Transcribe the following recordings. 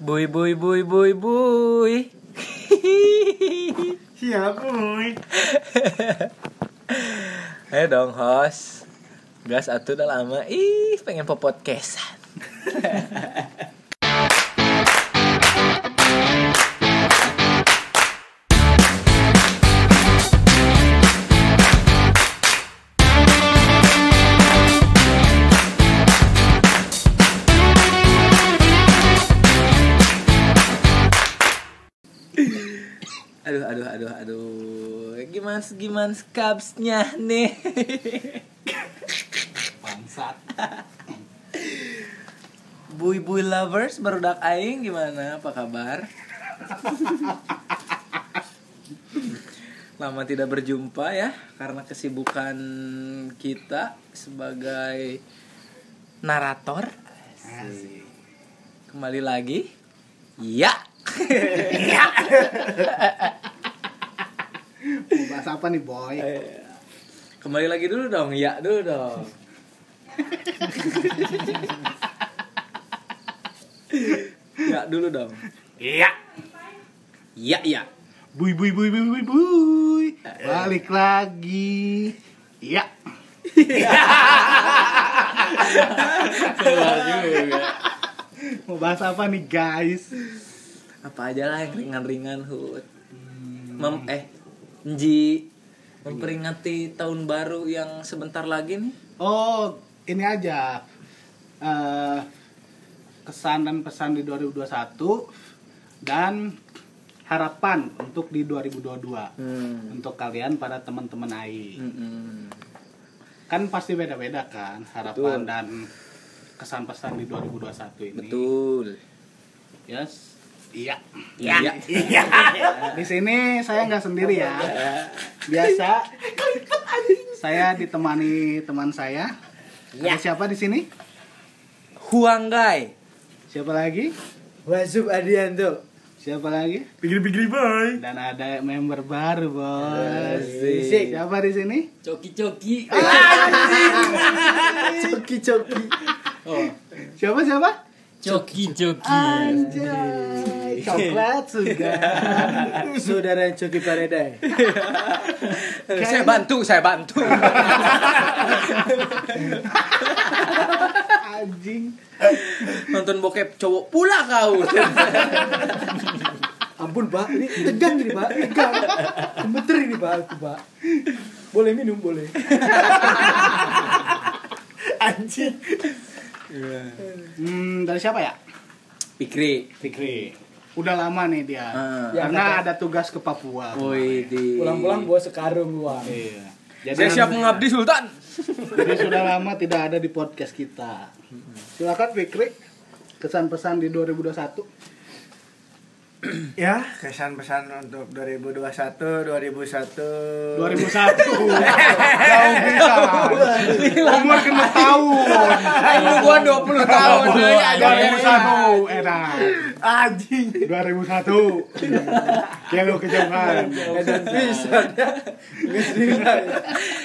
Boy boy boy boy boy. Siap, boy. Ayo dong host. Gas atuh udah lama. Ih, pengen pop podcastan. Aduh, aduh, aduh, aduh. Gimana gimana kapsnya nih? Bangsat. Boy boy lovers barudak aing gimana? Apa kabar? Lama tidak berjumpa ya karena kesibukan kita sebagai narator. Kembali lagi. Ya. Mau bahas apa nih boy? Kembali lagi dulu dong. Ya dulu dong. ya dulu dong. Iya. Ya ya. Bui bui bui bui bui bui. Balik lagi. Iya. Mau bahas apa nih guys? apa aja lah yang ringan-ringan hut mem eh nji memperingati tahun baru yang sebentar lagi nih Oh, ini aja. Eh, kesan dan pesan di 2021 dan harapan untuk di 2022 untuk kalian para teman-teman AI. Mm-mm. Kan pasti beda-beda kan Betul. harapan dan kesan pesan di 2021 ini. betul Yes. Iya. ya, ya. Di sini saya nggak sendiri ya. Biasa. Saya ditemani teman saya. Ada siapa di sini? Huanggai Siapa lagi? Wasub Adianto. Siapa lagi? Pikir-pikir, boy. Dan ada member baru, Bos. Asik. Siapa di sini? coki coki Ah, Coki coki. Oh, Siapa siapa? coki coki Anjay, coklat sudah. Saudara Coki Paradai. saya bantu saya bantu Anjing. nonton bokep cowok pula kau Ampun, Pak. Ini tegang ini, Pak. Tegang. Gemeter ini, Pak. Aku, Pak. Boleh minum, boleh. Anjing. Hmm, dari siapa ya? pikri Fikri. Udah lama nih dia. Ah. Karena ada tugas ke Papua. woi di Pulang-pulang bawa sekarung uang. Oh, Iya. saya siap mengabdi sultan Jadi sudah lama tidak ada di podcast kita. Silakan Fikri kesan pesan di 2021. Ya, kesan-pesan untuk 2021, 2001. 2001. Jauh bisa. Umur kena tahun. Ayo gua 20 tahun Iya, euy, ayo, euy. 2001 enak. Anjing. 2001. Kelo kejauhan. Dan bisa.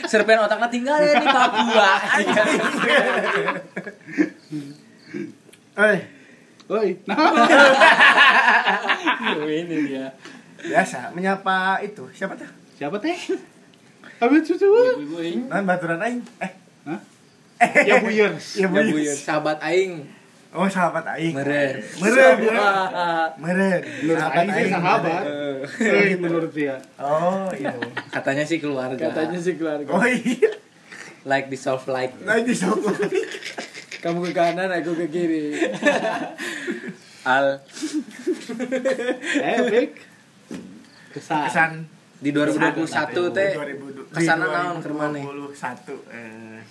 Serpen otaknya tinggal ya di Papua. Iya. Eh, Woi, nah. ini dia. biasa menyapa itu. Siapa tuh? Siapa teh? Abis cucu. Nan baturan aing. Eh, Hah? eh, Ya buyur. ya Ya buyur. buyur, sahabat aing. Oh, sahabat aing. Meren. Meren. Sahabat. Meren. Menurut Aing sih sahabat. Eh, menurut dia. Oh, iya. Katanya sih keluarga. Katanya sih Oh, iya. like dissolve like. Nah, di sombong. Kamu ke kanan, aku ke kiri. Al Eh, Fik. Kesan. Kesan di Nah, 2021 teh 2000 kesana di naon ke mana? 2021, eh,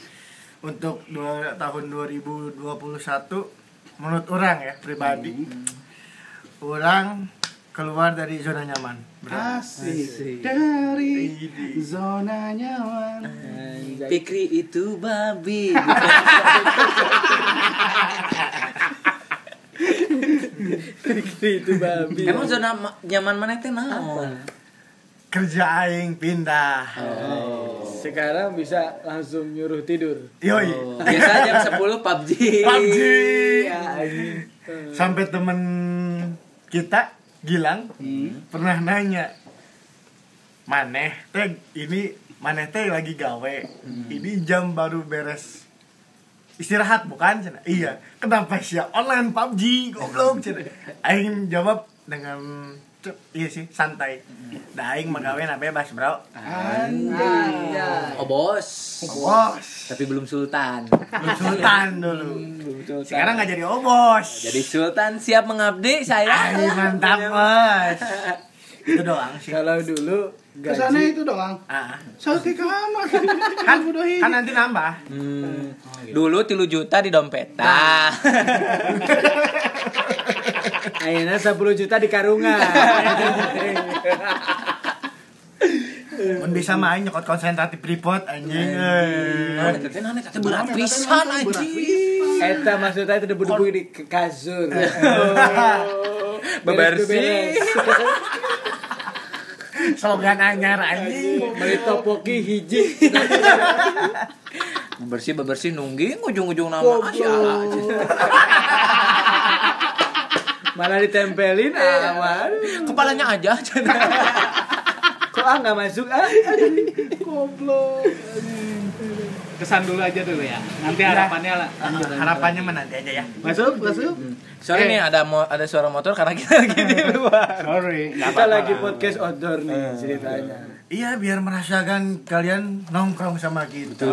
untuk dua, tahun 2021 menurut orang ya pribadi Hmm. orang keluar dari zona nyaman Benar. Asik. Asik. Dari Ini. zona nyaman. Pikri itu babi. itu babi Emang zona ma- nyaman mana teh naon? kerja aing pindah Oh. Sekarang bisa langsung nyuruh tidur. yoi Oh, Biasa jam 10 PUBG. PUBG Ya, anjing. sampai temen kita Gilang Hmm. pernah nanya maneh teh ini maneh teh lagi gawe Hmm. ini jam baru beres istirahat bukan Cina? iya kenapa sih online PUBG Hmm. goblok Cina? aing jawab dengan cep, iya sih santai Hmm. da aing mah gawe na bebas Oh bro Ah, bos. bos Tapi belum sultan. Lu sultan dulu sekarang nggak jadi "Oh, obos Hmm, Jadi sultan siap mengabdi saya. Ay, mantap bos itu doang sih Kalau dulu Kesannya gaji itu doang. ah. Saya ke kamar. kan kan nanti nambah Hmm, dulu tilu juta di dompet. Nah. akhirnya 10 juta di karungan. Mun bisa main nyokot konsentratif report anjing. Nah, Eh. teteh nane teteh berat pisan anjing. Eta maksudnya itu debu-debu di ke kasur. Oh. Bebersih. Slogan anyar anjing. Beli topoki hiji. Bebersih bebersih nungging ujung-ujung nama Asya aja. Malah ditempelin aman. Kepalanya aja. Kok ah nggak masuk ah? Kesan dulu aja dulu ya. Nanti harapannya lah. Hmm. Harapannya mana nanti aja ya. Masuk, masuk. Sorry nih ada mo- ada suara motor karena kita lagi di luar. Sorry. Kita lagi podcast outdoor nih ceritanya. Iya biar merasakan kalian nongkrong sama kita.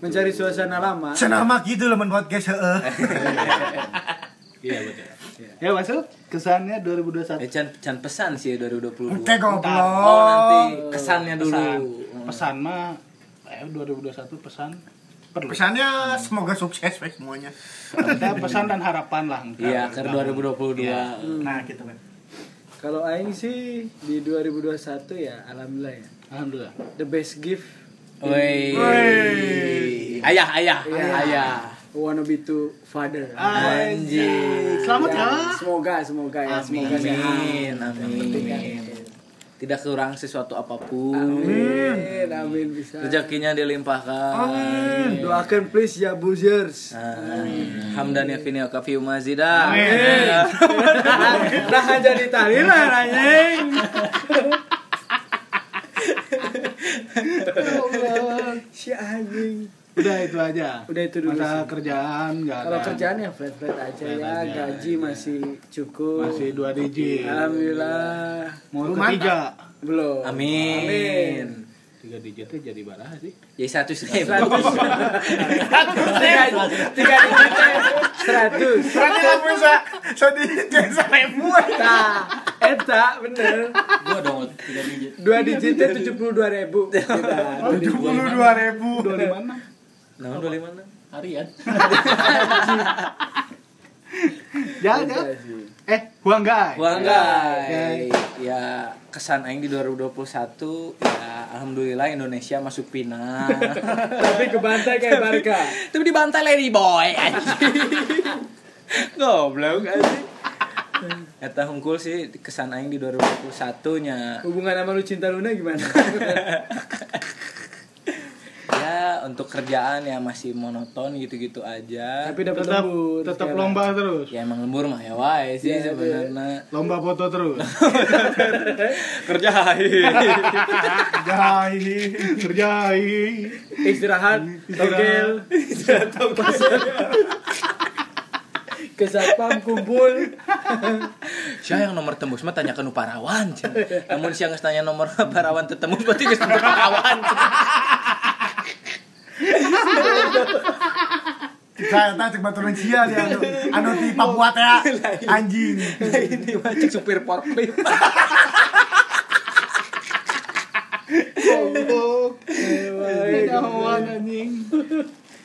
Mencari suasana lama. Senama gitu lah men podcast heeh. Ya masuk. Kesannya 2021. Eh, can, can pesan sih ya, 2022. Oke Oh nanti goblok. kesannya dulu. Eh, Pesan mah eh 2021 pesan perlu. Pesannya semoga sukses weh semuanya. Kita pesan dan harapan lah. Iya, ke 2022. Nah gitu kan. Kalau aing sih di 2021 ya alhamdulillah ya. Alhamdulillah. The best gift Woi. Iya. Ayah, ayah, ayah. wanna be to father. Anjing. Selamat ya. Semoga semoga ya semoga sehat. Amin, amin. Tidak kurang sesuatu apapun. Amin. Amin bisa. Rezekinya dilimpahkan. Doakan please ya buzers. Amin. Hamdan ya fini kafi mazida. Nah jadi tahlilan anjing. Si anjing. Udah itu aja. Udah itu dulu Masa sih. kerjaan nggak ada. Kalau kerjaan ya flat-flat aja ya, gaji masih cukup. masih dua digit. Alhamdulillah Mau ketiga. belum. Amin. Tiga digitnya jadi barah sih. Jadi satu ribu. Tiga tiga digitnya seratus. Berarti lah bisa. So di desa ribuan. Nah, eta bener. Gua dong tiga digit. Dua digitnya tujuh puluh dua ribu. Tujuh puluh dua ribu. Dua di mana? Nah, dari mana? Harian. Jangan, jangan. Eh, gua enggak. Banggai. Ya kesan aing di 2021 ya alhamdulillah Indonesia masuk final. Tapi kebantai kayak Barca. Tapi dibantai Lady Boy anjing. Goblok anjing. Eta hungkul sih kesan aing di 2021 nya Hubungan sama lu cinta Luna gimana? ya untuk kerjaan ya masih monoton gitu-gitu aja. Tapi dapat Tetap lembur. tetap sekarang. lomba terus. ya emang lembur mah ya wae sih Ya, sebenarnya. Lomba foto terus. Kerja hai. Jahi, kerjai. Istirahat, togel, ke satpam kumpul. Siapa yang nomor tembus mah tanya ke nu parawan. cen. Namun siang geus tanya nomor parawan teu tembus berarti geus teu parawan. cen. Kita tak cek baturan sia dia anu anu di Papua teh anjing. Nah, Ini mah cek supir forklift. Goblok. Beda Kedahuan anjing.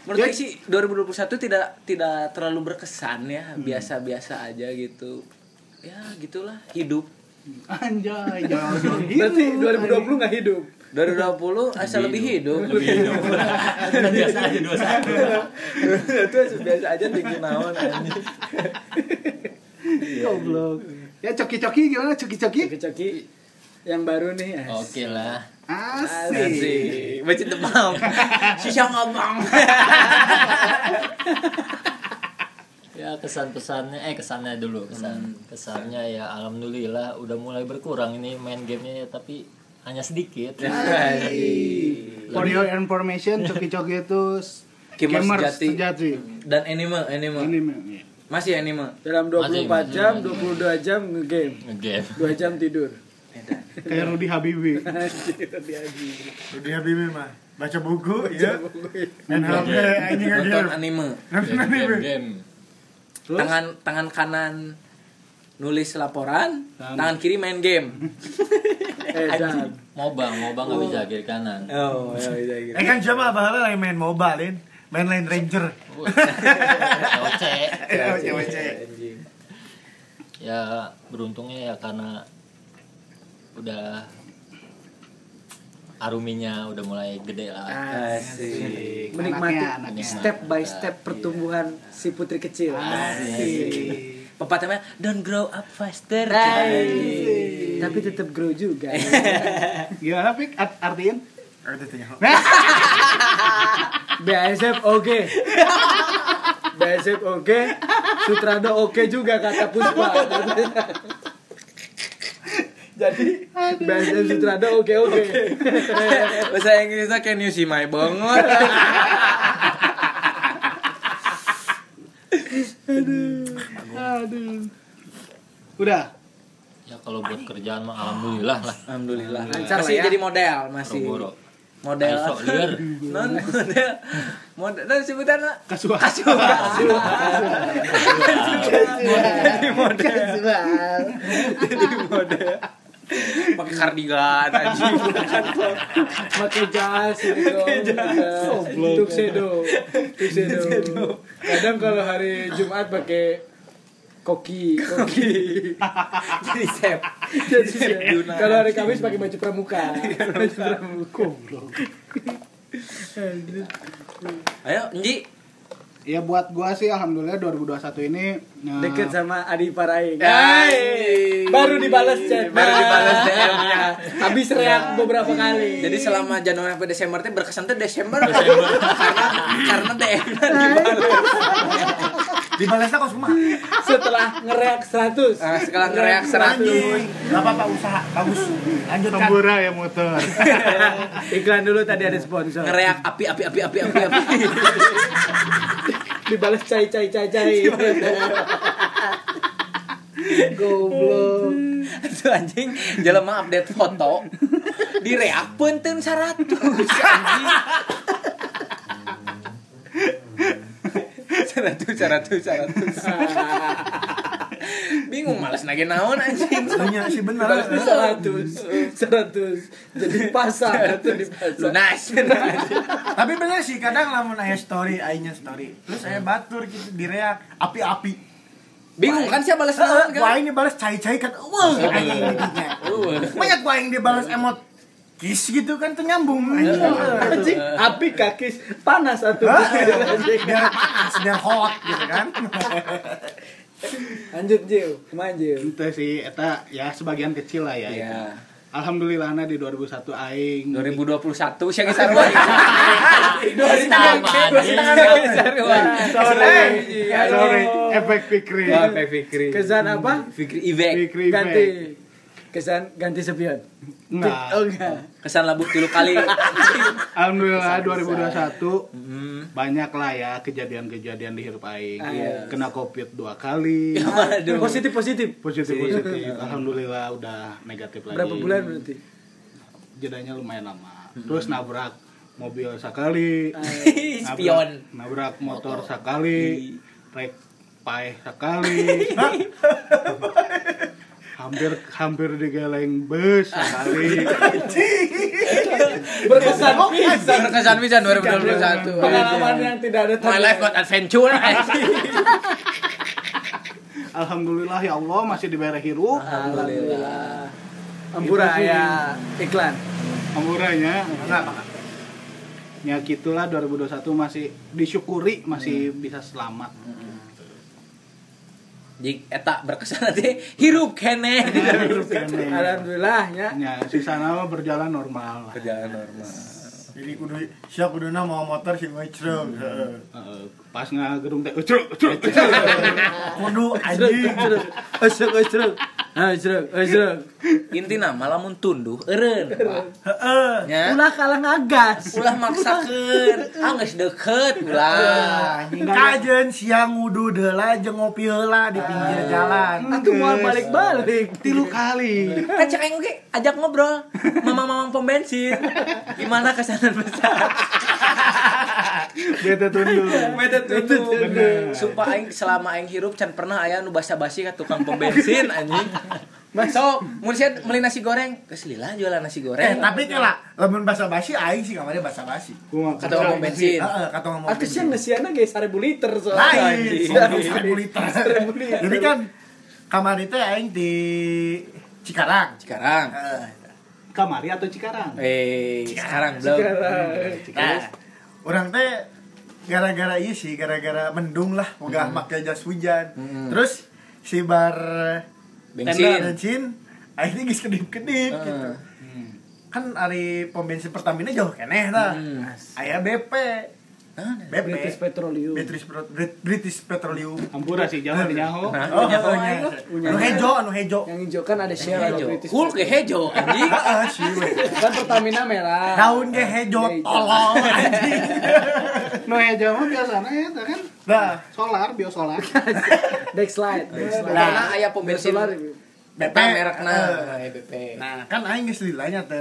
Menurut saya sih 2021 tidak tidak terlalu berkesan ya, biasa-biasa aja gitu. Ya gitulah hidup. Anjay, jangan gitu. Berarti 2020 nggak hidup. 2020 asal lebih hidup. Kan Lebih hidup. Biasa aja dua satu. Itu biasa aja tinggi naon anjing. Goblok. Ya coki-coki gimana coki-coki? Coki-coki yang baru nih. eh. as. Oke lah. Asik. Asik. Baca demam. Sisa ngomong. ya kesan pesannya eh kesannya dulu kesan kesannya ya alhamdulillah udah mulai berkurang ini main gamenya ya tapi hanya sedikit For your information, coki-coki itu s- Gamers gamers sejati. sejati. Dan anime, anime. Ini men. Masih anime. Dalam 24 Masih, jam, masih, 22 jam ngegame. ngegame 2 jam tidur. kayak Rudy Habibie. Rudy Habibie mah baca buku ya main HP anjing Nonton aja anime. nonton game game, anime game. Tangan tangan kanan nulis laporan, tangan kiri main game. Eh, dan. moba moba nggak bisa kiri kanan Oh, ya iya iya. gitu. eh kan siapa abang lagi main MOBA Lin main Line Ranger COC Eh, cewek-cewek. ya beruntungnya ya karena udah aruminya udah mulai gede lah Asik. Menikmati anaknya. step by step pertumbuhan si putri kecil. Pepatahnya don't grow up faster. Tapi tetap grow juga. Gimana Pik? Iya, Art artiin? Ada tanya. BASF oke. BASF oke. Sutrada oke juga kata Puspa. Jadi BASF Sutrada oke oke. Bahasa Inggrisnya can you see my bongot? Udah. ya kalau buat kerjaan mah alhamdulillah lah Alhamdulillah. Lancar lah masih ya. jadi model, masih. boro Model. besok liar Non model. Model dan sebutannya Kasual. kasual. Jadi model. Kasual. Jadi model. Pakai kardigan anjing. Pakai jas gitu. Tuxedo. Tuxedo. Kadang kalau hari Jumat pakai koki, koki. Jadi sep. Jadi kalau hari Kamis pakai baju pramuka. Iya, Baju pramuka. Ayo, Nji. Ya buat gua sih alhamdulillah 2021 ini eh, Deket sama Adi Paraing. Hai. Baru dibalas chat. Iya. Baru ya. dibalas DM -nya. Habis Iya. reak beberapa kali. Jadi selama Januari sampai Desember teh berkesan teh Desember. karena karena DM -nya dibalas. Dibalasnya kok semua. setelah ngereak 100. Ah, setelah ngereak 100. Anjing. Enggak apa-apa usaha. Bagus. Lanjutkan. Tambura ya motor. Iklan dulu tadi ada sponsor. Ngereak api api api api api api. Dibalas cai cai cai cai. Goblok. Itu anjing jelema update foto di reak punten 100 anjing. 100 100 100. Bingung malas nage naon anjing. Banyak sih benar. Dibalas 100. 100. Jadi pasar, jadi pasar. Lunas. Tapi bener sih kadang lamun aya story, aingnya story. Terus aya batur gitu direak api-api. Bingung kan siapa balas naon kan? Wah, Eh, ini balas cai-cai kan. Wah, anjing didinya. Banyak gua yang dibalas emot kiss gitu kan tuh nyambung. Anjing. Anjing, api kakis panas satu. Hah? Biar panas, biar hot gitu kan. Lanjut Jiu, main Jiu. Itu Gitu sih eta ya sebagian kecil lah ya. itu. Ya. Alhamdulillah nah di 2001 aing 2021 sih geus sarua. 2021 Iya. Sorry. Eh, Sorry. Efek Fikri. Wah, Pak Fikri. Kesan apa? Fikri Ibek. Fikri Ganti. Efek. Kesan ganti sepion. Nah, Oh enggak. Kesan labuh tilu kali. alhamdulillah 2021 banyak lah ya kejadian-kejadian di hidup aing. Iya. Kena Covid dua kali. Waduh. Positif positif. Positif positif. Alhamdulillah udah negatif lagi. Iya. Berapa bulan berarti? jedanya lumayan lama terus nabrak mobil sekali Ih, nabrak- spion. nabrak motor sekali Iya. rek paeh sekali hampir hampir digeleng bus sekali Berkesan pisan. Berkesan pisan 2021. Iya. Pengalaman yang tidak ada My life got adventure. alhamdulillah ya allah masih diberi hirup Alhamdulillah. Ampura ya iklan. amuranya ya gitulah 2021 masih disyukuri masih Hmm. bisa selamat Jik eta eh, berkesan nanti hirup kene. Kan, Alhamdulillah ya. ya sisa nama berjalan normal lah. Kerjaan normal. Jadi kudu sia kuduna mau motor sih ngecreng. Heeh. Heeh, Eh, pas ngegerung teh ucruk ucruk Kudu anjing. Esrek, esrek. Ah, esrek, esrek. Intina malamun tunduh eureun. Pak. Heeh. Nya. Ulah kalah ngagas. Ulah maksakeun, ah geus deukeut ulah. Kajen siang ngudu heula jeung ngopi heula di pinggir jalan. Atuh mau balik-balik. tilu kali Kan Eh, cek aing oge ajak ngobrol. Mamang-mamang pom bensin. Gimana kesanan besar? bete tunduk Mete tunduh. Sumpah aing selama aing hirup can pernah aya nu basa-basi ka tukang pom bensin anjing. Masuk, mun sia meuli nasi goreng, geus lila jualan nasi Eh, goreng. tapi kela, lamun basa basi aing sih kamarnya basa basi. gua Kata pom bensin. Heeh, kata ngomong. Aku sih ngesiana guys 1000 liter soalnya. Iya. lain. anjing. Sombong seribu liter. Seribu liter. Jadi kan kamari teh aing di Cikarang. Sekarang. Heeh. kamari atau cikarang Eh, Eh, sekarang belum. Sekarang. Nah, orang teh gara-gara iya sih, gara-gara mendung lah, moga pakai jas hujan. Terus si bar tenda Bensin. bensin akhirnya geus kedip-kedip gitu. Heeh. Kan ari pom bensin Pertamina jauh keneh tah. Hmm. Aya BP. Ah, BP. British Petroleum. British, Petro- Brit- British Petroleum. hampura sih jangan di nyaho Nah, Oh, punya oh, pemain iya. tuh. Anu hejo, anu hejo. Yang hijau kan ada share ada Hejo. British. Hulk ge hejo anjing. Heeh, sih. weh. Kan Pertamina merah. Daun ge hejo, tolong anjing. no heja mah biasana eta kan Nah, solar biosolar Dexlight. Dexlight. Karena aya pom bensin. Solar. BP Eh. merekna eh, BP. Nah, kan aing geus lilanya teu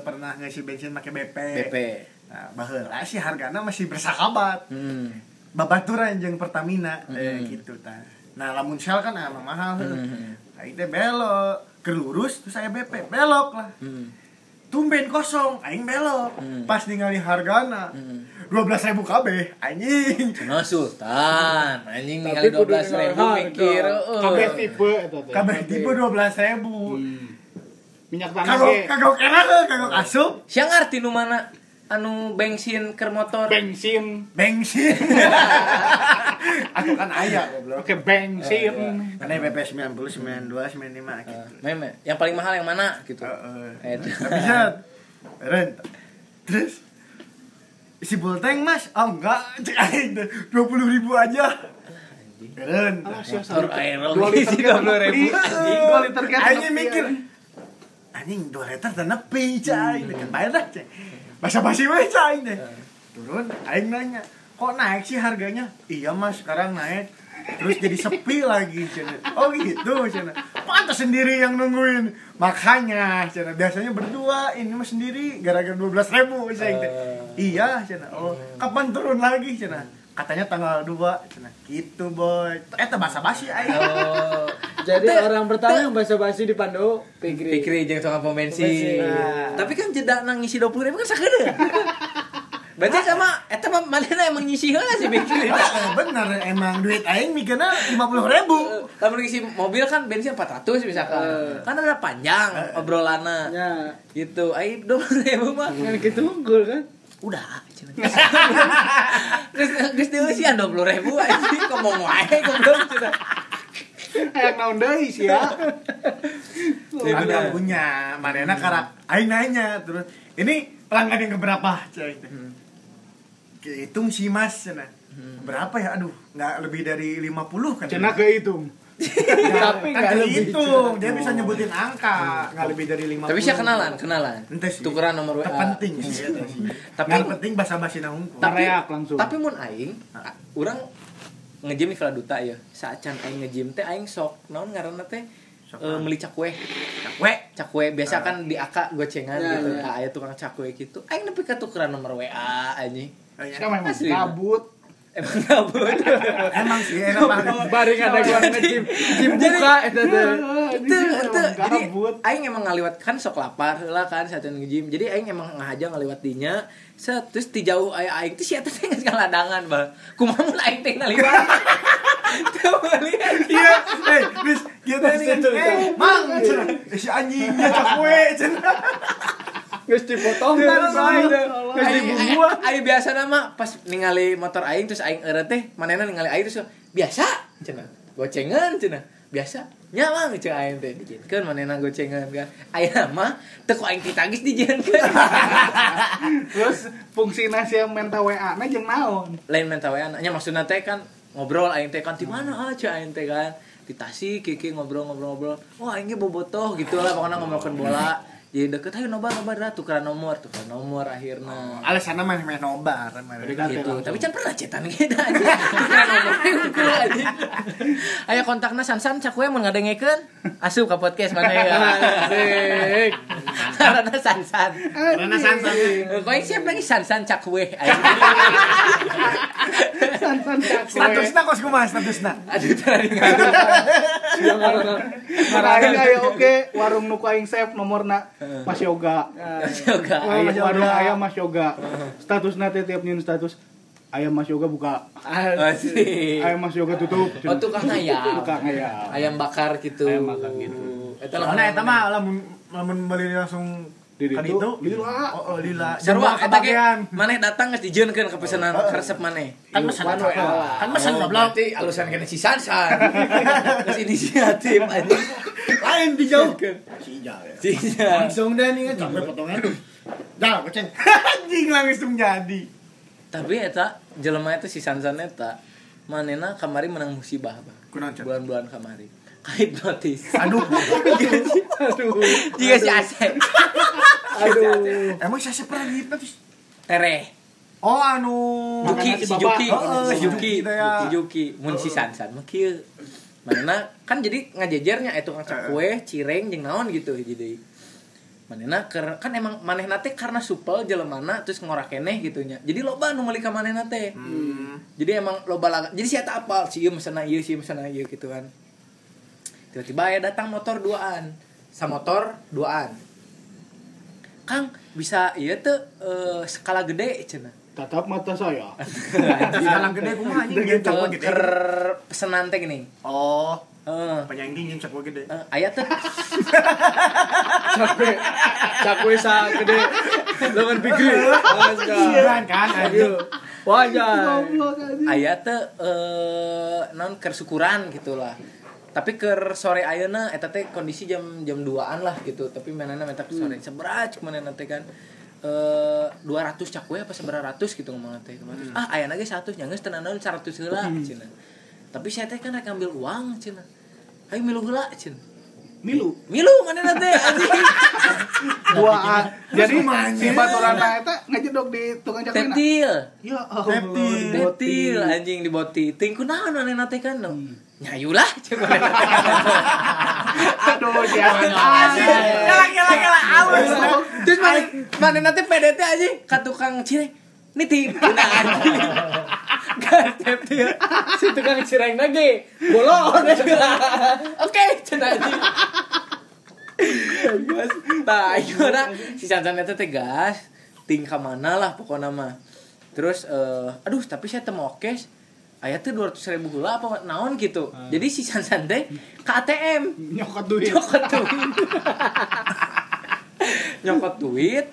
pernah ngisi bensin make BP. BP. Nah, baheula sih hargana masih bersahabat. Hmm. Babaturan jeung Pertamina eh gitu tah. Nah, lamun Shell kan emang mahal. Aing teh belok ke lurus terus saya BP, belok lah. Tumben kosong, aing belok. Pas ningali hargana. 12.000 kabeh, anjing. Nah, Sultan, anjing Tapi ningali kudu 12 ribu dengan harga. mikir. Eh. kabeh heeh. tipe eta teh Hmm. Kabeh tipe 12.000. minyak tanah Kagok ge kagok erah, kagok asup. Siang arti nu mana anu bensin keur motor. bensin Bensin. Aku kan ayah goblok. oke Eh, bensin iya. Karena PP 90, 92, 95 gitu. Meme, yang paling mahal yang mana gitu. Eh, Heeh. Bisa rent. Terus si bulteng mas, oh enggak, cek aing teh, 20 ribu aja. Rent. Ah, sia Motor aero Dua liter isi kan 20 ribu. Anjing, dua liter kan Aing nepi, mikir, anjing 2 liter dan nepi cai, dengan bayar lah cai. Basa basi we cai deh. Turun, aing nanya, kok naik sih harganya? Iya mas, sekarang naik. Terus jadi sepi lagi, cina. Oh gitu, cina. Pantas sendiri yang nungguin. Makanya, cina. Biasanya berdua, ini mah sendiri. Gara-gara 12 ribu, cina. Eh. Iya, cina. Oh, kapan turun lagi, cina? Katanya tanggal 2, cina. Gitu, boy. Eh, basa basi, aing. Oh, Jadi Teh, orang pertama yang basa-basi di Pando Pikri. pikir jeung tukang pom bensin. Bensin. Tapi kan jeda nang ngisi 20 ribu kan sakeudeung. Berarti sama eta mah manehna emang ngisi heula sih pikir. Eh, bener emang duit aing mikirnya lima puluh ribu Lamun ngisi mobil kan bensin 400 misalkan. Kan ada panjang obrolannya. Ya, Gitu. Ai 20 ribu mah kan gitu unggul kan. udah cuman. Geus geus dieusian 20 ribu anjing ngomong wae goblok cenah. Hayang naon deui sih ya Iya, tapi aku punya Mariana karena aing nanya terus ini pelanggan yang keberapa cek hitung sih mas cina Hmm. berapa ya aduh nggak lebih dari 50 kan cenah kehitung Tapi enggak kan lebih. dihitung dia bisa nyebutin angka nggak lebih dari 50 Oh. Tapi sih kenalan, kenalan. Ente sih. Tukeran nomor WA. terpenting sih eta sih. Tapi- Ngan penting bahasa basi nahungkul Tareak langsung Tapi mun aing, a- urang ngejim di Duta ya. Saacan aing ngejim teh aing sok naon ngaranna teh Sok eh, naon? meuli cakwe. cakwe Ah. Cakwe biasa kan di aka gocengan Ya, ya. gitu. Nah, aya tukang cakwe gitu. Aing nepi ka tukeran nomor WA anjing. Iya. Kan memang Asli. kabut Emang gabut. emang sih enak banget Baring ada gua ngejim. Jim buka eta teh. Itu itu jadi kabut aing emang ngaliwat kan sok lapar lah kan saacan ngejim. Jadi aing emang ngahaja ngaliwat dinya. Set terus ti jauh aya aing teh sia teh geus ngaladangan, Bang. Kumaha mun aing teh ngaliwat. Teu melihat Iya, eh, bis, kita ini kan, eh, mang, cenah. Eh, si anjingnya cakwe, cenah. Geus dipotong kan bae. Geus dibuang. Aing biasa nama pas ningali motor aing terus aing eure teh manehna ningali aing terus biasa cenah. Gocengan cenah. biasa nyawang cek aing teh dijieunkeun manehna gocengan kan ayeuna mah teu ku aing ditagis dijieunkeun terus fungsi nasi menta WA na jeung naon lain mental wae anaknya maksudnya teh kan ngobrol aing teh kan di mana aja aing teh kan di Tasik kiki ngobrol ngobrol ngobrol oh aing ge bobotoh gitu lah pokoknya ngobrolkan bola jadi deket ayo nobar nobar lah tukeran nomor tukeran nomor akhirnya alasannya mah meh nobar mah gitu tapi can pernah cetan gitu aja tukeran nomor gitu aja ayo kontakna sansan cak we mun ngadengekeun asup ka podcast mana ya asik karena sansan karena sansan kau yang siap lagi sansan cak we aing. san cakwe statusna kos kumaha statusna aduh tadi nggak marahin aya oke warung nu ku aing save nomorna Mas Yoga Eh. yoga Eh. Aya warung aya Mas Yoga statusna teh tiap nyeun status aya Mas Yoga buka Asik. aya Mas Yoga tutup Oh tukang ayam. tukang aya Ayam bakar gitu. Ayam bakar gitu. Eta lah. Soalnya eta mah lamun lamun beli langsung Di ka ditu, ditu. lila. Oh, oh, lila. Sarwa eta ge kebagian. maneh datang geus dijieunkeun ke pesanan resep maneh. kan pesan One way lah. kan pesan Oh, goblok berarti alusan kena si Sansan. Terus inisiatif anjing. Lain dijauhkan. Sia. Langsung deh nih kan sampai potongan. Dah, kucing. Anjing langsung jadi. Tapi eta jelema eta si Sansan eta manehna kamari menang musibah, Bang. Kunaon, Chan? Bulan-bulan kamari. Kahit notis. Aduh, Jika si Asep Aduh. emang saya pernah hipnotis. tereh Oh, anu Juki, Makan nasi si bapak. Juki, si Heeh, si Juki, Juki teh ya. si Juki, mun si Sansan mah kieu. Manena kan jadi ngajejernya eta tukang cakwe, cireng jeung naon gitu hiji deui. Manena ker, kan emang manehna teh karena supel jelemana terus ngorakeneh gitu nya. Jadi loba nu meuli ka manehna teh. Hmm. Jadi emang loba laga. Jadi si eta apal, si ieu mesena ieu, si ieu mesena ieu gitu kan. Tiba-tiba aya datang motor duaan. Samotor duaan. Kang, bisa ieu teh eh, skala gede cenah. tatap mata saya Dalam gede kumaha anjing Ke jeung cakwa gede. Eh, ker pesenan teh gini. Oh, Heeh. penyangking jeung cakwa gede. Eh, aya teh Cakwe. Cakwe sa gede. Lengan pikir. Kan kan anjing. Wajah. goblok aja aya teh eh non keur syukuran gitu lah. Tapi ker sore ayeuna eta teh kondisi jam jam 2-an lah gitu. Tapi mainanna meta ke sore. Seberapa cuk mainanna teh kan eh 200 cakwe apa seberapa ratus gitu ngomongna teh. 200. Ah aya ge 100 nya geus tenan naon 100 heula cenah. Tapi saya teh kan rek ngambil uang cenah. Ayo milu heula cenah. milu Milu mana teh anjing. dua jadi si kumanya? baturana eta ngajedok di tukang cakwe Tetil. ya Allah Reptil. Betil anjing di boti. Ting kunaon ane nate kan no. Nyayu lah cek mana. aduh jangan aja Kalah kalah kalah alus. Terus mana mana nate PDT anjing ka tukang cireng. Nitip cenah anjing. Gas betil. Si tukang cireng lagi. Bolong. Oke cenah anjing. Gas. Nah, ayo na si Sansan eta teh gas. Ting ka mana lah pokona mah. Terus eh aduh tapi saya temu oke Ayah tuh dua ratus ribu gula apa naon gitu. Jadi si Sansan teh ke ATM. nyokot duit nyokot duit nyokot duit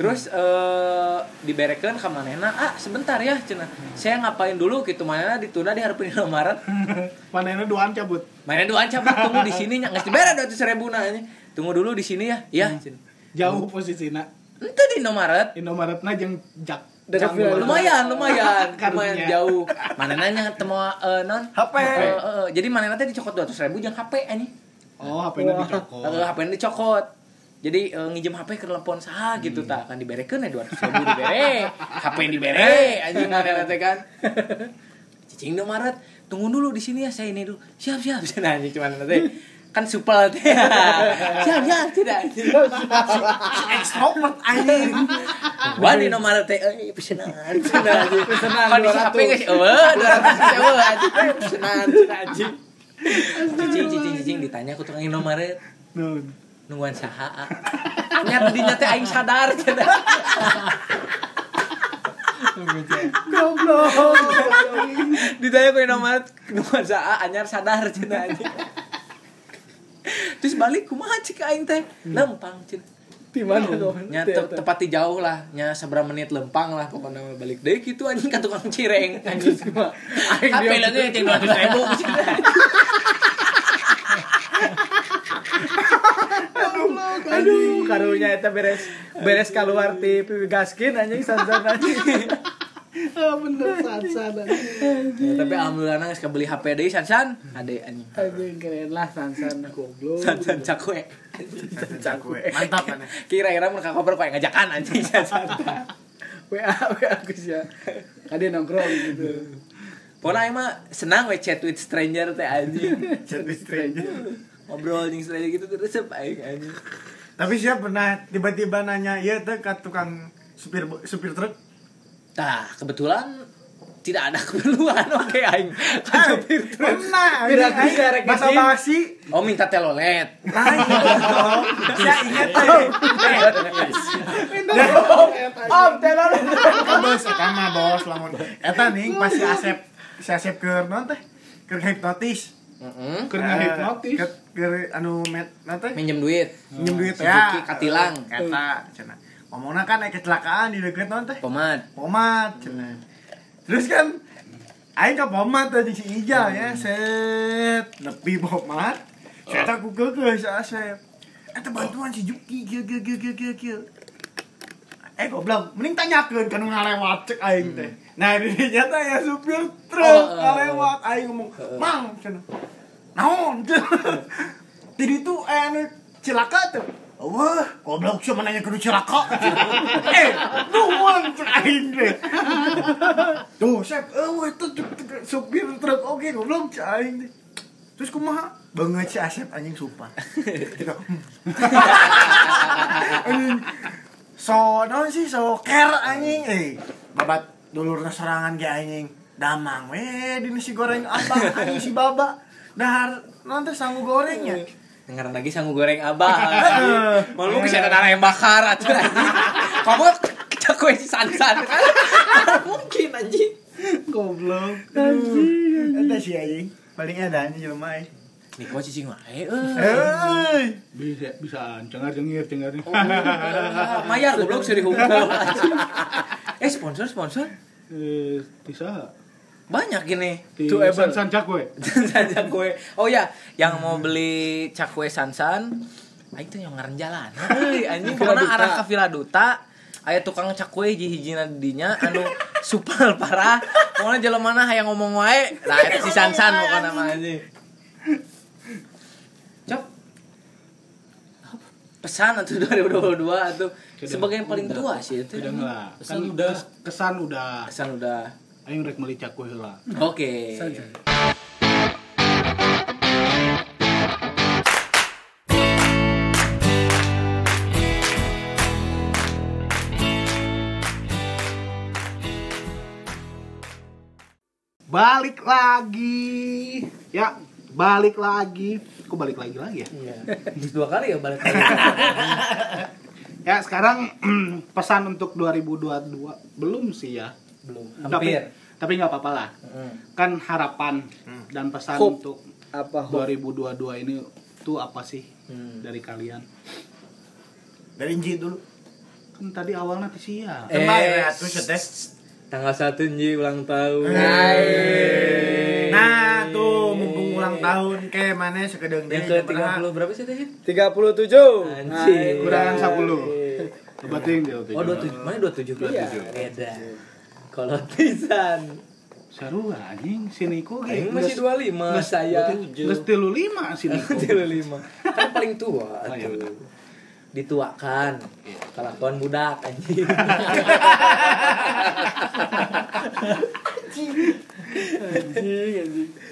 terus eh diberekeun ka manehna ah sebentar ya cenah saya ngapain dulu gitu manehna ditunda di hareupeun di Indomaret panennya duaan cabut manehna doan cabut tunggu di sini nya geus dibere 200.000 na nya. tunggu dulu di sini ya iya cenah jauh posisina ente di Indomaret Indomaretna jeung jak Dekat Jang villa. Indomaret. lumayan lumayan lumayan Karunya. jauh manehna nya temu eh, non HP. Eh, eh, jadi manehna teh dicokot 200.000 jeung HP anjing oh HP-na dicokot Eh, HP ini dicokot. Jadi eh, nginjem HP ke telepon saha gitu tak akan diberekeun ya 200 ribu dibere. HP yang dibere anjing mana teh kan. Cicing dong Maret, tunggu dulu di sini ya saya ini dulu. Siap siap Nah, saya nanya cuman teh. Kan supel teh. siap siap tidak. Ekstrovert anjing. Wah di nomor teh eh pesenan. Pesenan. Pesenan Kondisi HP 200. geus eueuh 200 eueuh anjing. Eh, Pesenan cenah, anjing. Cicing cicing cicing ditanya ku tukang Indomaret. Nun. nungguan saha nyat dinya teh aing sadar cenah goblok ditanya ku nomor nungguan saha anyar sadar cenah anjing terus balik kumaha cik aing teh lempang cenah Di mana tuh? nya te tepat di jauh lah nya seberapa menit lempang lah pokoknya mah balik deui kitu anjing ka tukang cireng anjing Terus gimana? HP lagi yang tinggal 200 ribu karunya itu beres beres keluar ti pipi gaskin anjing sansan anjing Ah, bener Sansan Ya, tapi alhamdulillah nang geus beli HP deui San San. Ade anjing. Aduh, keren lah Sansan goblok. San San cakwe. Mantap maneh. Kira-kira mun ka koper koe ngajakan anjing San San. WA WA Gus ya. Kade nongkrong gitu. Pokona aing mah senang we chat with stranger teh anjing. Jadi stranger. Ngobrol jeung stranger gitu terus aing anjing. Tapi siapa pernah tiba-tiba nanya, "Iya teh ke tukang supir bo- supir truk?" Tah, Nah, kebetulan tidak ada keperluan oke aing. Ka supir truk. Pernah. Pira anjing. tiga rek Basa izin. basi. Oh minta telolet. Lain dong. Saya ingat Oh. teh. om telor Ka bos eta mah bos lamun. Eta ning pas si Asep si Asep keur naon teh? Keur hipnotis. Heeh. Karena hipnotis. Keur keur anu met naon teh? Minjem duit. Minjem duit Si ya. Duki katilang. Eta cenah. Ngomongna kan aya kecelakaan di deket naon teh? Pomad. Pomat cenah. Terus kan aing ka pomat tadi si Ijal ya, set nepi pomat. Saya tak kukeukeun si Asep. Eta bantuan si Juki kieu kieu kieu kieu kieu kieu. Eh goblok, mending tanyakeun kan ngalewat cek aing teh. Nah, ini nyata ya supir truk Oh, oh, ngalewat aing ngomong, "Mang, cenah." Naon? cenah. Jadi itu eh anu cilaka tuh. Wah, goblok cuma nanya kudu cilaka. eh, nuhun cek aing deh. Tuh, Sep, eh weh, itu tuh, tuh, tuh, supir truk oke goblok cek aing deh. Terus kumaha? Banget si Asep anjing sumpah. Kita hmm. anjing so naon sih so care anjing eh babat dulurna serangan ge anjing. Damang weh di nasi goreng abang anjing si baba. Dahar nanti sanggup gorengnya. Dengar lagi sangu goreng abah. Malu lu bisa ada darah yang bakar atuh. anjing. Kamu cakwe si Sansan. Mana Mungkin anjing. Goblok. Aduh, Eta sih anjing. Paling ada anjing jelema eh. Nih kau cicing wae euy. Hei. Bisa bisa cengar cengir cengar cengir. Oh. Mayar goblok seri hukum. Eh sponsor sponsor Eh, bisa. banyak gini. Di Tuh, Evan. Sansan cakwe. Sansan cakwe. Oh ya, yang mau beli cakwe Sansan, aing teh yang ngaran jalan. Hei, anjing karena Villa Duta. arah ke Villa Duta, aya tukang cakwe hiji-hijina di dinya anu supel parah. Pokoknya jelema mana hayang ngomong wae. Nah, eta si Sansan bukan nama anjing. Cok. Apa? Pesan atau 2022 atau sebagai yang paling tua sih itu. Udah lah. Pesan udah. kes- kesan udah. Pesan udah. Ayo rek meuli cakwe heula. Oke. Balik lagi. Ya, balik lagi. Kok balik lagi lagi ya? Iya. Dua kali ya balik. Ya, sekarang pesan untuk 2022 belum sih ya. Belum. Tapi tapi nggak apa-apa lah. Heeh. Kan harapan dan pesan Hope. untuk apa hoax? 2022 ini tuh apa sih Hmm. dari kalian? Dari Nji dulu. Kan tadi awalnya sih ya. Eh, Kemarin atuh cetes. Tanggal 1 Nji ulang tahun. Nah, tuh mumpung ulang tahun ke mana sekedeng Yang deui ke kumaha. 30 berapa sih tadi? 37 Anjing. Nah, Kurang iya. 10. Berarti yang dia tuh. Oh, 27. Mana 27? 27. Beda. Iya, Kalau pisan. Seru anjing si Niko ge. Aing masih 25 saya. Terus 35 si Niko. 35. Kan paling tua Oh, iya, tuh. Dituakan. Kelakuan budak anjing.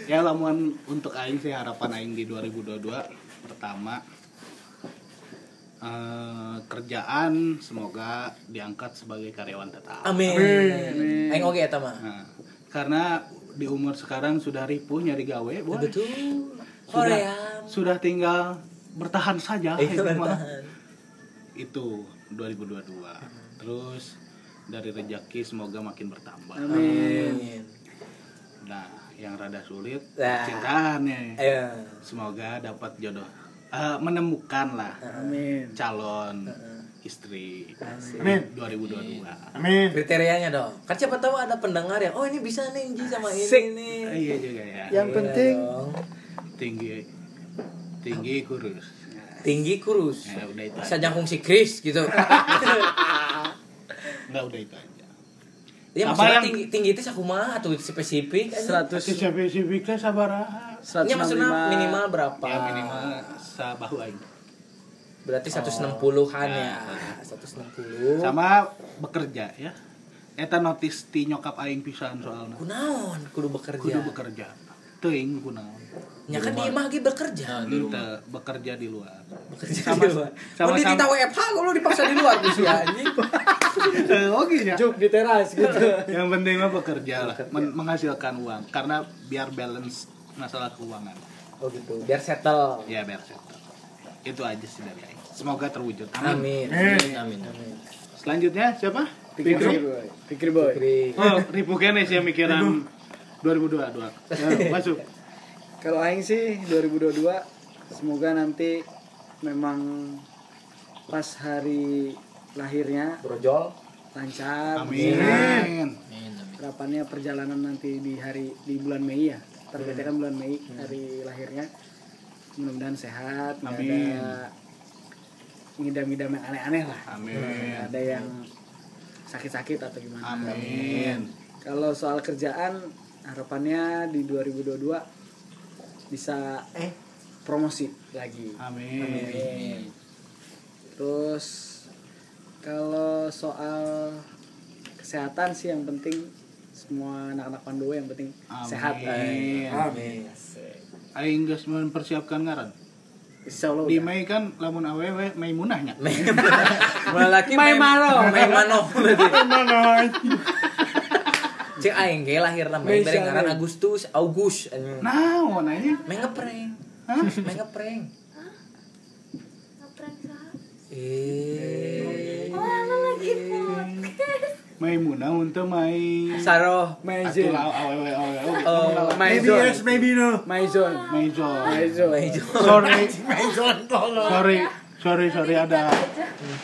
Ya lamun untuk aing sih harapan aing di 2022 pertama eh, kerjaan semoga diangkat sebagai karyawan tetap. Amin. Aing oge eta mah. Nah, karena di umur sekarang sudah ripuh nyari gawe, boy. Betul. Sudah, Korea. sudah tinggal bertahan saja Itu itu Iya, mah. bertahan. Itu 2022. Terus dari rezeki semoga makin bertambah. Amin. Nah, yang rada sulit Nah. cintaannya. Ayo. Semoga dapat jodoh. Eh, menemukan lah amin calon istri Amin. 2022. Amin. kriterianya dong kan siapa tahu ada pendengar yang oh ini bisa nih Ji sama ini nih Eh, iya juga ya. yang Iya penting dong. Tinggi tinggi kurus. tinggi kurus Ya, udah itu. sajang fungsi Chris gitu Enggak udah itu aja. ya Apa maksudnya yang- tinggi tinggi itu sakumaha atau spesifik seratus Spesifiknya sabar. ya maksudnya minimal berapa Ya Oh, minimal sabahu aing. berarti 160-an ya Nah. 160 Sama bekerja ya. Eta notis ti nyokap aing pisan soalnya. kunaon kudu bekerja Kudu bekerja. Teuing kunaon. ya kan dia mah lagi bekerja di rumah Henteu bekerja di luar. bekerja Nah. Sama- di luar Mun sama- di sama- WFH kalau dipaksa di luar gitu ya anjing Oke ya. juk di teras gitu Yang penting mah bekerja lah, men- menghasilkan uang karena biar balance masalah keuangan. oh gitu biar settle Ya biar settle. Itu aja sih dari aing. Semoga terwujud. Amin. amin amin amin Selanjutnya siapa? pikir boy pikir boy Kri. Oh, ribukan ya sih mikiran 2022. Ya, masuk. Kalau Aing sih 2022 semoga nanti memang pas hari lahirnya brojol lancar. sehat. Amin. amin amin Harapannya perjalanan nanti di hari di bulan Mei ya. Targetnya kan bulan Mei Hmm. hari lahirnya. Mudah-mudahan sehat. nggak Amin. Ada ngidam-ngidam yang aneh-aneh lah. Amin. Nggak Ada yang sakit-sakit atau gimana. Amin. Kalau soal kerjaan harapannya di 2022 bisa eh promosi lagi. Amin. Terus kalau soal kesehatan sih yang penting semua anak-anak Pandowo yang penting Amin. sehat. Eh, eh. amin Amin. Aing geus mempersiapkan ngaran. Insya Allah. Di udah. Mei kan lamun awewe Mei munahnya. Melaki main mano, main mano. Cek aing ge lahir lah main Mei bareng ngaran Syahrin. Agustus, August. anjing. Nah, wananya Main ngeprank. Main ngeprank. Ngeprank saha? Eh. Oh, ala lagi podcast. Mei munah untuk Mei. Saroh. Maizon. Atuh lah awewe awewe. Oh, Maybe Maizon. yes, maybe no. Maizon. Mei Zon. Maizon. Sorry. Sorry. Sorry, sorry ada.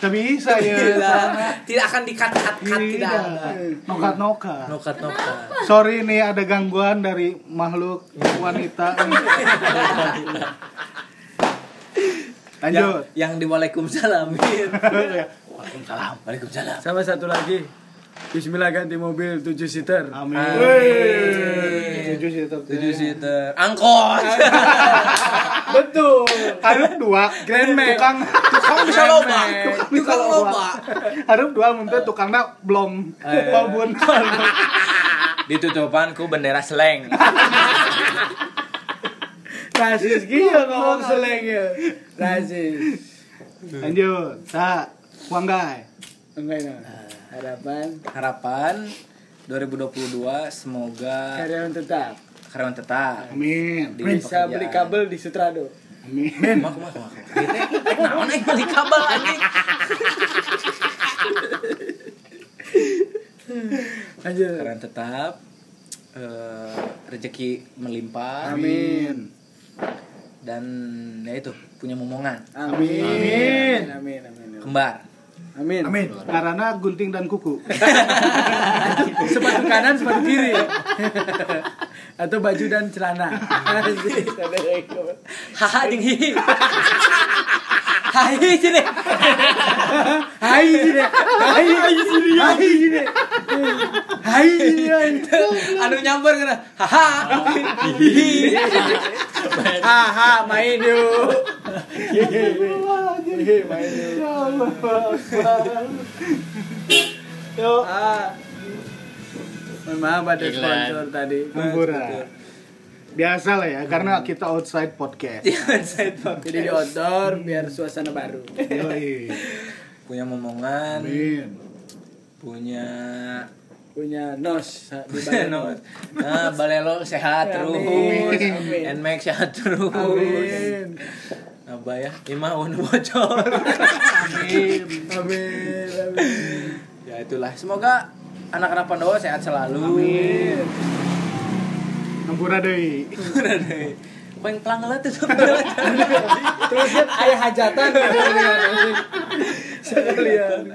Tapi bisa ya. tidak, tidak akan dikat-kat, tidak. ada. Nokat nokat. Nokat nokat. Sorry nih ada gangguan dari makhluk wanita. Lanjut. Yang, yang di Waalaikumsalamin. Ya. Waalaikumsalam. Waalaikumsalam. Sama satu lagi. Bismillah ganti mobil 7 seater. Amin. Amin. Tujuh sih tetap. ya. Tujuh seater. Angkot. Betul. Harus dua. Grand Max. Tukang Kamu bisa loba. Tukang loba. harus dua muntah tukangnya belum. Wabun. Ditutupan ku bendera seleng. Rasis gila Iya, ngomong seleng ya. Rasis. Lanjut. Sa. Wanggai. Enggak enggak. Harapan Harapan 2022 semoga karyawan tetap karyawan tetap Amin. di bisa pekerjaan. beli kabel di Sutrado. Amin. Kumaha, kumaha, kumaha. Ieu teh, eh, naon eh, beli kabel anjing. Lanjut. Karyawan tetap eh, rezeki melimpah Amin. dan ya itu punya momongan Amin. Amin. Amin. kembar Amin. Amin. Karena gunting dan kuku. Sepatu kanan, sepatu kiri. Atau baju dan celana. Aziz, ada rekor. haha jeung hihi hai sini Hai sini. Hai hai sini. Hai sini. Hai sini. anu nyamper kena haha hihi Haha, main yuk. Hehehe, main yuk. Ah. Mohon maaf ada sponsor tadi. Kuburan. Biasa lah ya, karena kita outside podcast. Jadi di outdoor biar suasana baru. Yoi. punya momongan Amin. punya Punya nos di Nah, nah, balelo sehat terus. Amin, amin. Nmax sehat terus. Amin. Apa ya? Ima unu bocor. Amin. Amin. ya itulah. Semoga anak-anak Pandowo sehat selalu. Ampura deui. Poin pelang lah tuh. Terus lihat ayah hajatan gitu. Sekalian.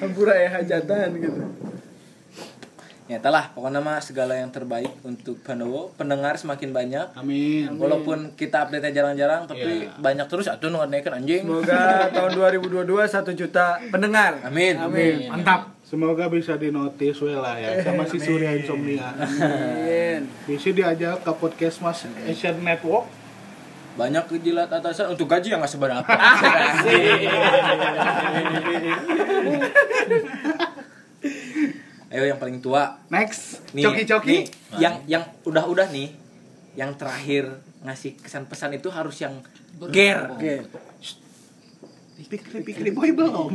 Hampura ayah hajatan gitu. Ya telah, pokoknya mah segala yang terbaik untuk Pandowo. Pendengar semakin banyak. Amin. Walaupun kita update jarang-jarang, tapi banyak terus. Aduh, nggak naikin anjing. Semoga tahun 2022 satu juta pendengar. Amin. Amin. Mantap. Semoga bisa dinotis we lah ya sama si Surya Insomnia. Bisa diajak ke podcast Mas Asian Network. Banyak kejilat atasan untuk gaji yang nggak seberapa. Ayo yang paling tua. Next, Nih, coki-coki. nih, yang yang udah-udah nih, yang terakhir ngasih kesan pesan itu harus yang ger. Pikri-pikri boy belum.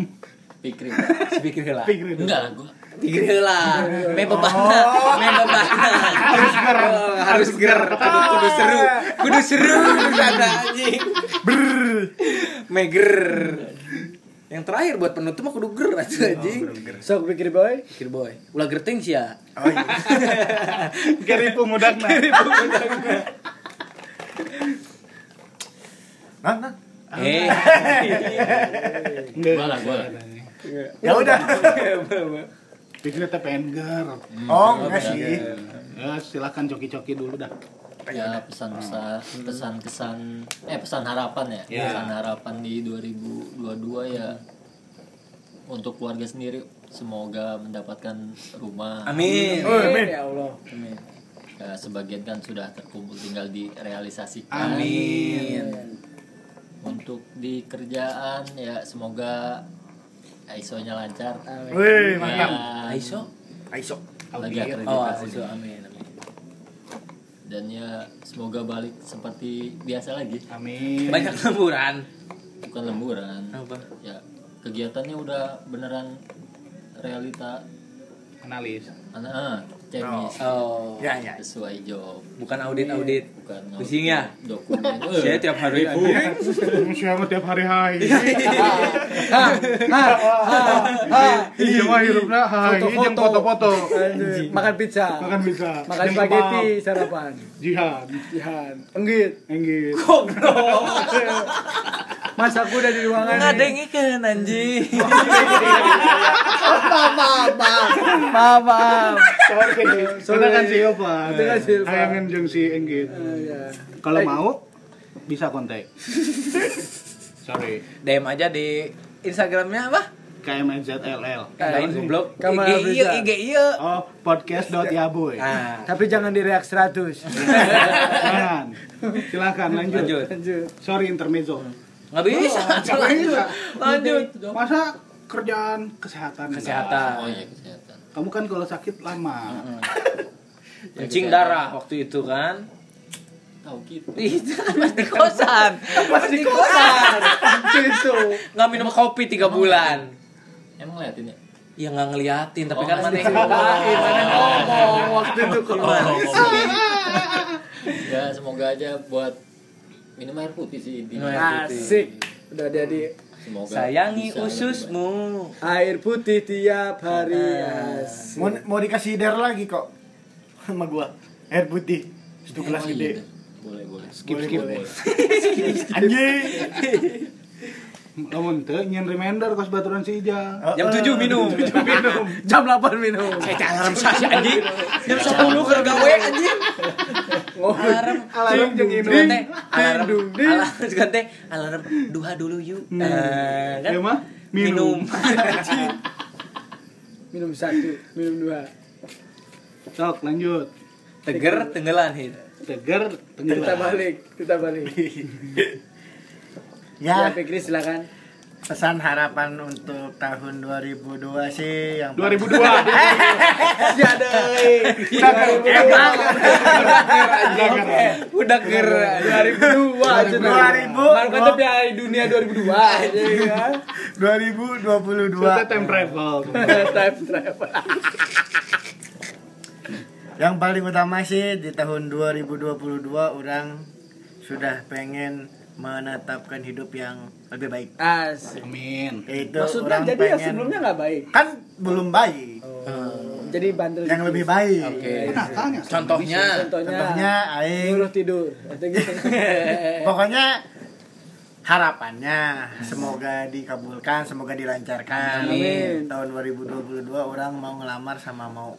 Pikir. Pikir heula. Pikri dulu. Enggak, gua Pikir heula. Me bebana, me bebana. Harus ger, harus ger. Kudu, kudu seru. Kudu seru sana anjing. Me ger. Yang terakhir buat penutup mah kudu ger atuh, anjing. Sok pikir boy. Pikir boy. Ulah gerting sih ya. Kiri pemudakna. Nah, nah. Eh. Nggak. Gua lah, gua lah. Ya udah. Pikri teh pengen ger. Oh, enggak sih. Ya silakan coki-coki dulu dah. ya pesan-pesan Hmm. pesan kesan eh pesan harapan ya pesan harapan di 2022 ya untuk keluarga sendiri semoga mendapatkan rumah Amin. Ya Allah. Ya, sebagian kan sudah terkumpul tinggal direalisasikan Amin. untuk di kerjaan ya semoga ISO-nya lancar Ya, Wih, Iya. mantap. dan Aisyah. Aisyok. lagi Oh, akreditasi Aisyah. Amin. amin. dan ya semoga balik seperti biasa lagi Amin. Banyak lemburan. bukan lemburan Apa? ya kegiatannya udah beneran realita Analis. anak ah, teknis Oh. Ya, ya. sesuai job Bukan audit-audit. bukan Pusing ya? dokumen Eh, Saya tiap hari bu. Siapa tiap hari hai. Iya, Ah, Iya mah hirupna hai Foto-foto. jeung foto-foto. anjing. makan pizza. Makan bisa. Makan Jeung spaghetti kebab. sarapan. Jihad. Jihan. Enggit. Enggit. Mas aku udah di ruangan. nih. Ngadengikeun anjing. Maaf, maaf, maaf. Maaf, maaf. Kita kan si Opa. Kita kan si Opa. Hayangin jeung si Enggit. Iya. Kalau mau bisa kontak. Sorry. DM aja di Instagramnya apa? KMNZLL. Lain goblok. Kamal IG iya, Afrizal. IG iya. Oh, podcast.yaboy. Nah, Tapi jangan direak 100. Silakan. Silakan lanjut. lanjut. Lanjut. Sorry intermezzo. Nggak bisa. bisa. Lanjut. Masa kerjaan kesehatan. oh Kesehatan. iya kesehatan Kamu kan kalau sakit lama. Kencing darah waktu itu kan. tahu gitu Ih, pas di kosan. Pas di kosan. Gitu. Nggak minum kopi 3 bulan. emang liatin ya Ya nggak ngeliatin, tapi Oh, kan pas mana di yang ngomongin, mana yang ngomong waktu itu Oh, kalau ngomong. ya semoga aja buat minum air putih sih intinya Asik. Udah jadi semoga Sayangi bisa lebih baik. ususmu. air putih tiap hari. Asik. Mau, mau dikasih der lagi kok sama gua. Air putih. Satu gelas Oh, iya, gede. dah. boleh boleh Skip skip. Anjing. Lamun teu nyen reminder kos baturan si Ijang. Jam 7 minum. Jam 8 minum. Eh, cak alarm sasi anjing. Jam 10 ke gawe anjing. Alarm Alarm jeung juga ini. teh alarm alarm juga teh alarm duha dulu yuk. Eh, kan? Ya mah minum. Anjing. Minum satu, minum dua. Sok lanjut. Teger tenggelan hit. Tegar Iya. Kita tenggelam. balik, kita balik. Ya, Ya, Fikri silakan. pesan harapan untuk tahun 2002 sih yang 2002. Eh, Emang Udah ger. 2002 aja dong. 2000. Baru kata Piala Dunia 2002 aja ya. 2022 Kita time travel. Time travel. Yang paling utama sih di tahun 2022 orang sudah pengen menetapkan hidup yang lebih baik. Asik. Amin. Yaitu Maksudnya orang jadi pengen yang sebelumnya nggak Oh, baik. kan belum baik, Jadi bandel. gitu, yang lebih baik. Oke. Tanya. Contohnya Contohnya Contohnya Ya, Oh, aing nyuruh tidur. Atau gitu. pokoknya harapannya semoga dikabulkan, semoga dilancarkan. Amin. Tahun 2022 orang mau ngelamar sama mau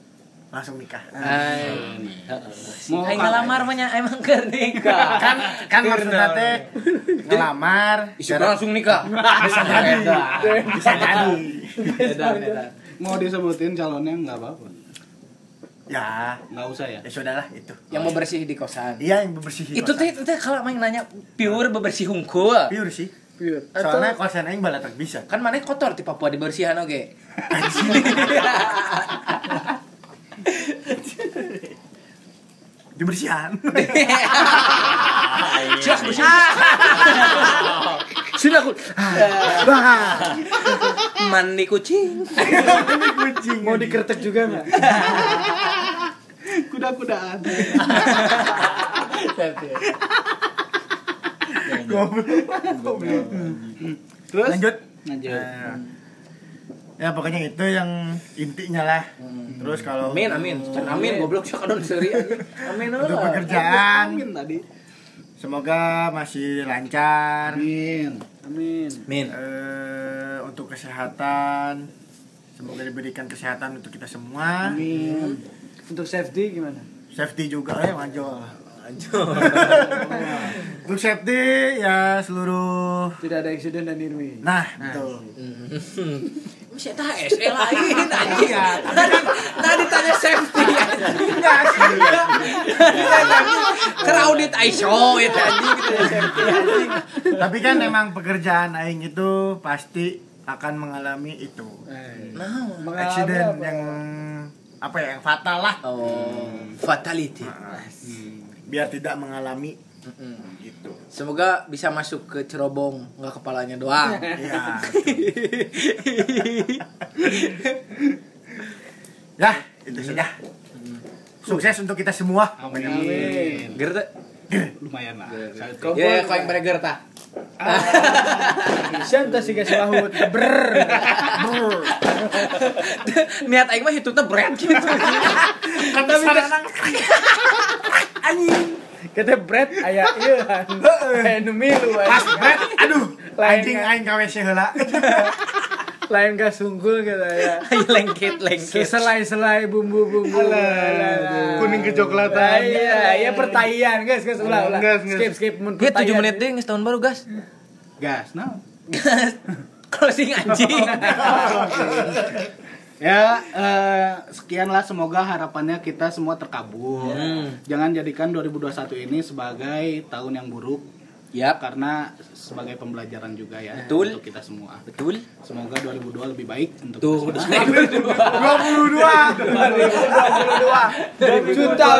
langsung nikah Mau Aing ngelamar mah nya, emang keur nikah. kan kan maksudnya teh ngelamar cara- langsung nikah. bisa jadi Iya. bisa jadi Mau disebutin calonnya nggak apa-apa. ya Nggak usah ya. ya sudahlah itu Yang mau bersih di kosan. iya yang bebersih Itu teh itu teh kalau main nanya pure bebersih hungkul. piur sih Pure. soalnya kosan aing bala tak bisa Kan mana kotor di Papua dibersihan oge. dibersihan Silah bersihan. Silah aku. Mandi kucing. kucing Mau dikertek juga nggak? Kuda-kudaan. Goblok. Terus lanjut lanjut. Nah, ya pokoknya itu yang intinya lah terus kalau Amin amin. Can amin goblok sok kadon seuri aja. Amin untuk heula. pekerjaan Amin tadi. semoga masih lancar Amin. Amin. Amin. Eh, untuk kesehatan semoga diberikan kesehatan untuk kita semua Amin. Untuk safety gimana? safety juga ya manjol untuk safety ya seluruh Tidak ada accident dan injury. nah betul Masih eta SE lain anjing. Tadi tadi tanya safety. enggak sih Keraudit ISO itu anjing gitu safety. anjing. tapi kan emang pekerjaan aing itu pasti akan mengalami itu Nah. accident yang apa ya yang fatal lah Oh, fatality. biar tidak mengalami Mm-mm. gitu Semoga bisa masuk ke cerobong, nggak kepalanya doang. ya ya itu sudah sukses untuk kita semua Amin. Gerta. Lumayan lah. Iya, Ya, kau yang bare gerta. Siapa sih guys lahut? Niat aing mah hitungna berat gitu. kata sekarang Kata bread aya ieu kan. Aya nu milu pas aya. bread aduh Lain anjing nggak? aing gawe seheula Lain ka sungkul gitu aya. Aing lengket lengket. Selai-selai bumbu-bumbu. Kuning kecoklatan. Iya, iya pertanyaan guys, guys ulah ulah. Guys, guys. Skip skip mun Ya 7 pertanyaan. menit deh, nges tahun baru gas. Gas, nah. Closing anjing. Ya, eh, sekianlah semoga harapannya kita semua terkabul. Hmm. Jangan jadikan 2021 ini sebagai tahun yang buruk Yap, karena sebagai pembelajaran juga ya Betul. untuk kita semua. betul. Semoga 2002 lebih baik untuk Tuh, kita udah semua.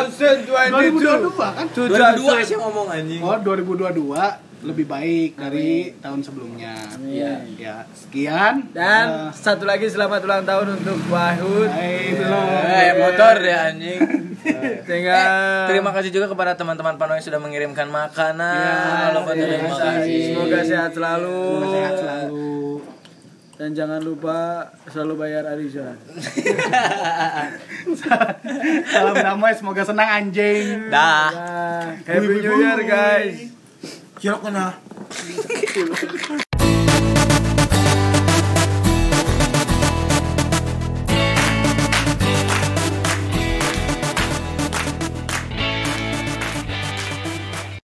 2022. 2022 kan? 2002 sih ngomong anjing. Oh, 2022 lebih baik dari tahun sebelumnya. Iya. Ya, sekian. Dan satu lagi selamat ulang tahun untuk Wahud. Eh, belum. Eh, motor ya anjing. Eh, Eh, Tinggal Terima kasih juga kepada teman-teman Pano yang sudah mengirimkan makanan. Halo, Pak Tony. Terima kasih. Semoga sehat selalu. Sehat selalu. Dan jangan lupa selalu bayar Arizona. Salam damai, semoga senang anjing. Dah. Happy New Year guys. kira kena